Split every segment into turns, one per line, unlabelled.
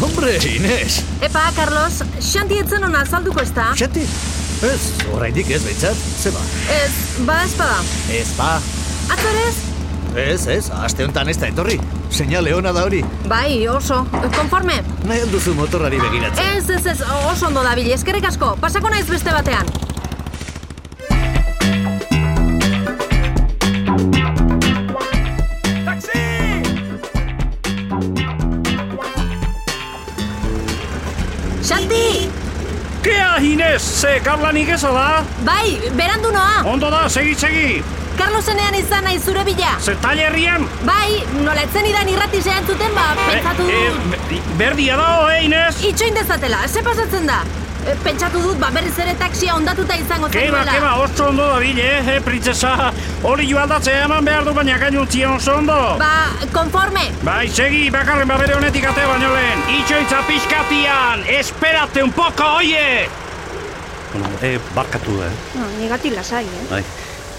Hombre, Ines!
Epa, Carlos, Xanti etzen hona azalduko ez da?
Xati? Ez, horraitik ez behitzat, zeba.
Ez, ba espada.
Ez ba,
Atzo ere ez?
ez, ez, aste honetan ez da etorri. Seinale ona da hori,
Bai, oso. Konforme?
nahi alduzu motorrari begiratzen.
Ez, ez, ez, oso ondo dabil, eskerrik asko. Pasako naiz beste batean. Xanti!
Kea, Inez, ze karlanik ez da?
Bai, berandu noa!
Ondo da, segi, segi!
Carlosenean izan nahi zure bila!
Ze tailerrian?
Bai, nola etzen idan irrati zuten, ba, pentsatu dut...
Eh, be- berdia da, eh, Inez?
Itxoin dezatela, ze pasatzen da? E, Pentsatu dut, ba berriz ere taksia ondatuta izango
Keba, keba, oso ondo da bile, eh, pritzesa. Hori joaldatzea eman behar du, baina gainuntzia oso ondo.
Ba, konforme.
Bai, segi, bakarren babere honetik ate baino lehen. Itxoitza pixkatian, esperate un poco, oie! Bueno, eh, barkatu da, eh?
No, negati lasai, eh?
Bai.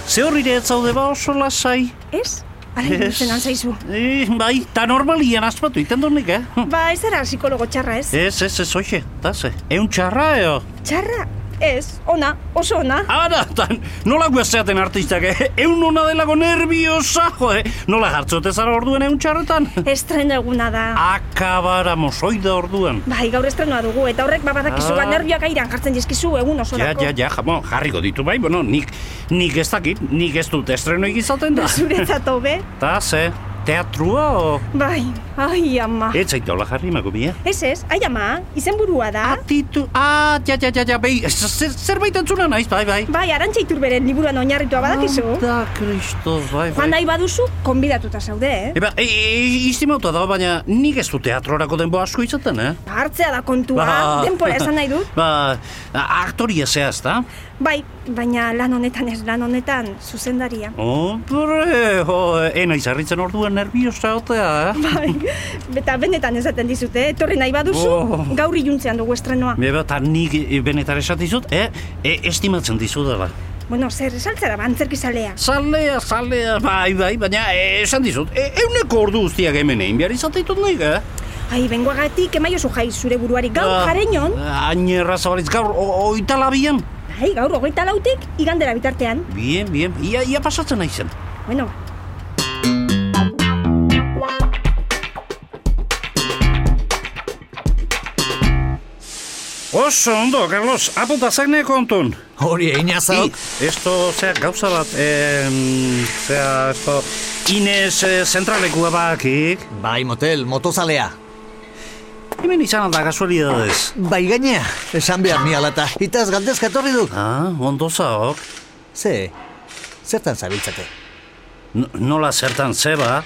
Ze horrire ez zaude ba oso lasai?
Ez? Ara, iruditzen antzaizu.
Eh, bai, ta normalian azpatu, iten dut nik, eh? Hm.
Ba, ez dara psikologo txarra, ez?
Ez, ez, ez, oie, eta ze. Eun txarra, eo?
Txarra? Ez, ona, oso ona.
Ara, tan, nola guezeaten artistak, eh? Eun hona delako nerviosa, jo, eh? Nola jartzote zara orduen eun txarretan?
Estreno eguna da.
Akabara mozoida orduan.
Bai, gaur estrenoa dugu, eta horrek ba babadakizu
Ah.
bat nervioak airan jartzen dizkizu egun
Ja,
osorako.
ja, ja, jamon, jarriko ditu bai, bueno, nik, nik ez dakit, nik ez dut estrenoik izaten da.
Zuretzat hobe?
Ta, ze, teatrua, o...
Bai, ai ama.
Ez zait dola jarri, mago bia.
Ez ez, ai ama, izenburua da.
Atitu, ah, ja, ja, ja, ja, behi, zer, zerbait entzuna naiz, bai, bai.
Bai, arantxa iturberen liburuan oinarritua badakizu.
Da, kristo, bai,
Joan
bai.
nahi baduzu, konbidatuta zaude, eh?
Eba, e, e, iztimauta da, baina nik ez du teatrorako denbo asko izaten, eh?
Hartzea da kontua,
Ah.
denpora Ba, esan nahi dut.
Ba, a- aktoria zehaz, da?
Bai, baina lan honetan ez, lan honetan zuzendaria.
Hombre, jo, ena izarritzen orduan nerviosa otea, eh?
Bai, eta benetan esaten dizute, etorri nahi baduzu,
Oh.
gaur iluntzean dugu estrenoa.
Beba, eta nik e, benetan esatizut, eh? E, estimatzen dizudala.
Bueno, zer, esaltzara ba, antzerkizalea.
Zalea, zalea, bai, bai, baina e, esan dizut, e, euneko ordu guztiak hemen egin behar izatitut nik, eh?
Ai, bengoagatik, emaiozzu jai zure buruari gaur
Ah,
jareñon,
Hain erraza balitz, gaur, o- oita labian.
ai, gaur hogeita lautik, igandera bitartean.
Bien, bien, ia, ia pasatzen naizen.
Bueno,
Oso ondo, Carlos, apunta zagne kontun.
Hori egin
I,
azok.
esto, zea, gauza bat, em, zea, esto, Inez eh, zentralekua bakik.
Bai, motel, motozalea.
Hemen izan da kasualidades.
Bai gainea, esan behar ni alata. Itaz galdezka etorri dut.
Ah, ondo zaok.
Ze, zertan zabiltzate?
N- Nola zertan zeba.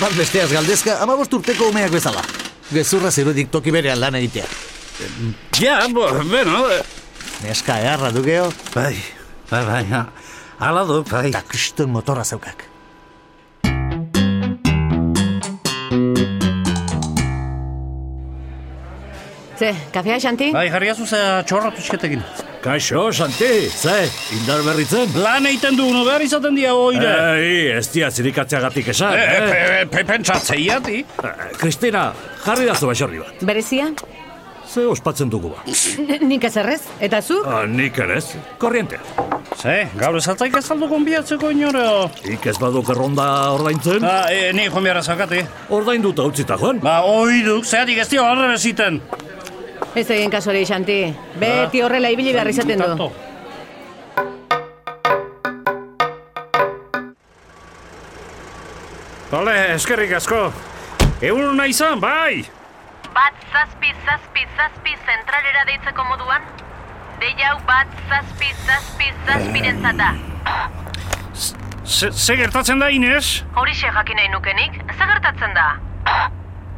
Bat besteaz galdezka, amabost urteko umeak bezala. Gezurra zirudik toki berean lan egitea.
Ja, bo, bueno, eh,
Neska eharra du geho,
bai, bai, bai, ha. Ala du, bai.
eta kriston motorra zeukak.
Ze, kafea, Xanti?
Bai, jarri azu zea txorratu txiketekin.
Kaixo, Santi, ze, indar berritzen?
Lan eiten du, no behar izaten dia oire.
Ei, ez dia zirikatzeagatik esan,
Eh, eh,
eh?
pe- pe- Pentsatzeiati.
Eh, Kristina, jarri dazu baserri bat.
Berezia?
Ze ospatzen dugu ba?
Nik ez errez, eta zu?
Ah, nik ere ez, korriente.
Ze, gaur ez altzaik ez aldu konbiatzeko inore.
Ik ez baduk erronda ordaintzen,
Ba, e, ni joan behar zakati.
ordainduta utzita joan.
Ba, oiduk, zeatik ez dio horre beziten.
Ez egin kasu hori, Xanti. Beti horrela ibili
Ah,
behar izaten du.
Bale, eskerrik asko. Egun nahi izan, bai!
Bat zazpi zazpi zazpi zentralera deitzeko moduan? Deiau bat zazpi zazpi zazpiren zata.
Ze, ze gertatzen da, Inez?
Horixe jakin nahi nukenik, ze gertatzen da?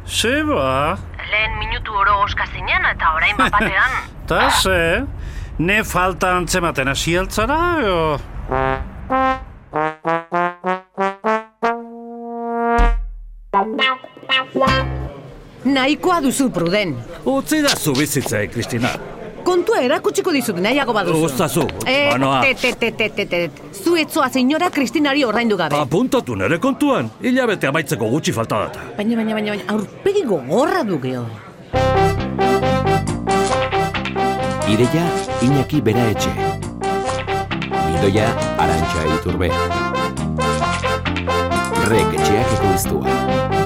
Ze ba...
Lehen minutu oro oskazinan eta orain bat batean.
Ta ze... Ne falta antzematen hasi altzara, o...
Nahikoa duzu pruden.
Utzi da zu bizitzei, Kristina.
Kontua erakutsiko dizut, nahiago baduzu.
Gustazu,
Eh,
banoa.
te, te, te, te, te, te. Zu etzoa zeinora Kristinari ordaindu gabe.
Ba, Apuntatu nere kontuan, hilabete amaitzeko gutxi falta data.
Baina, baina, baina, baina, aurpegi gogorra du geho.
Ideia Iñaki Bera Etxe. Bidoia Arantxa Iturbe. Rek etxeak ekoiztua.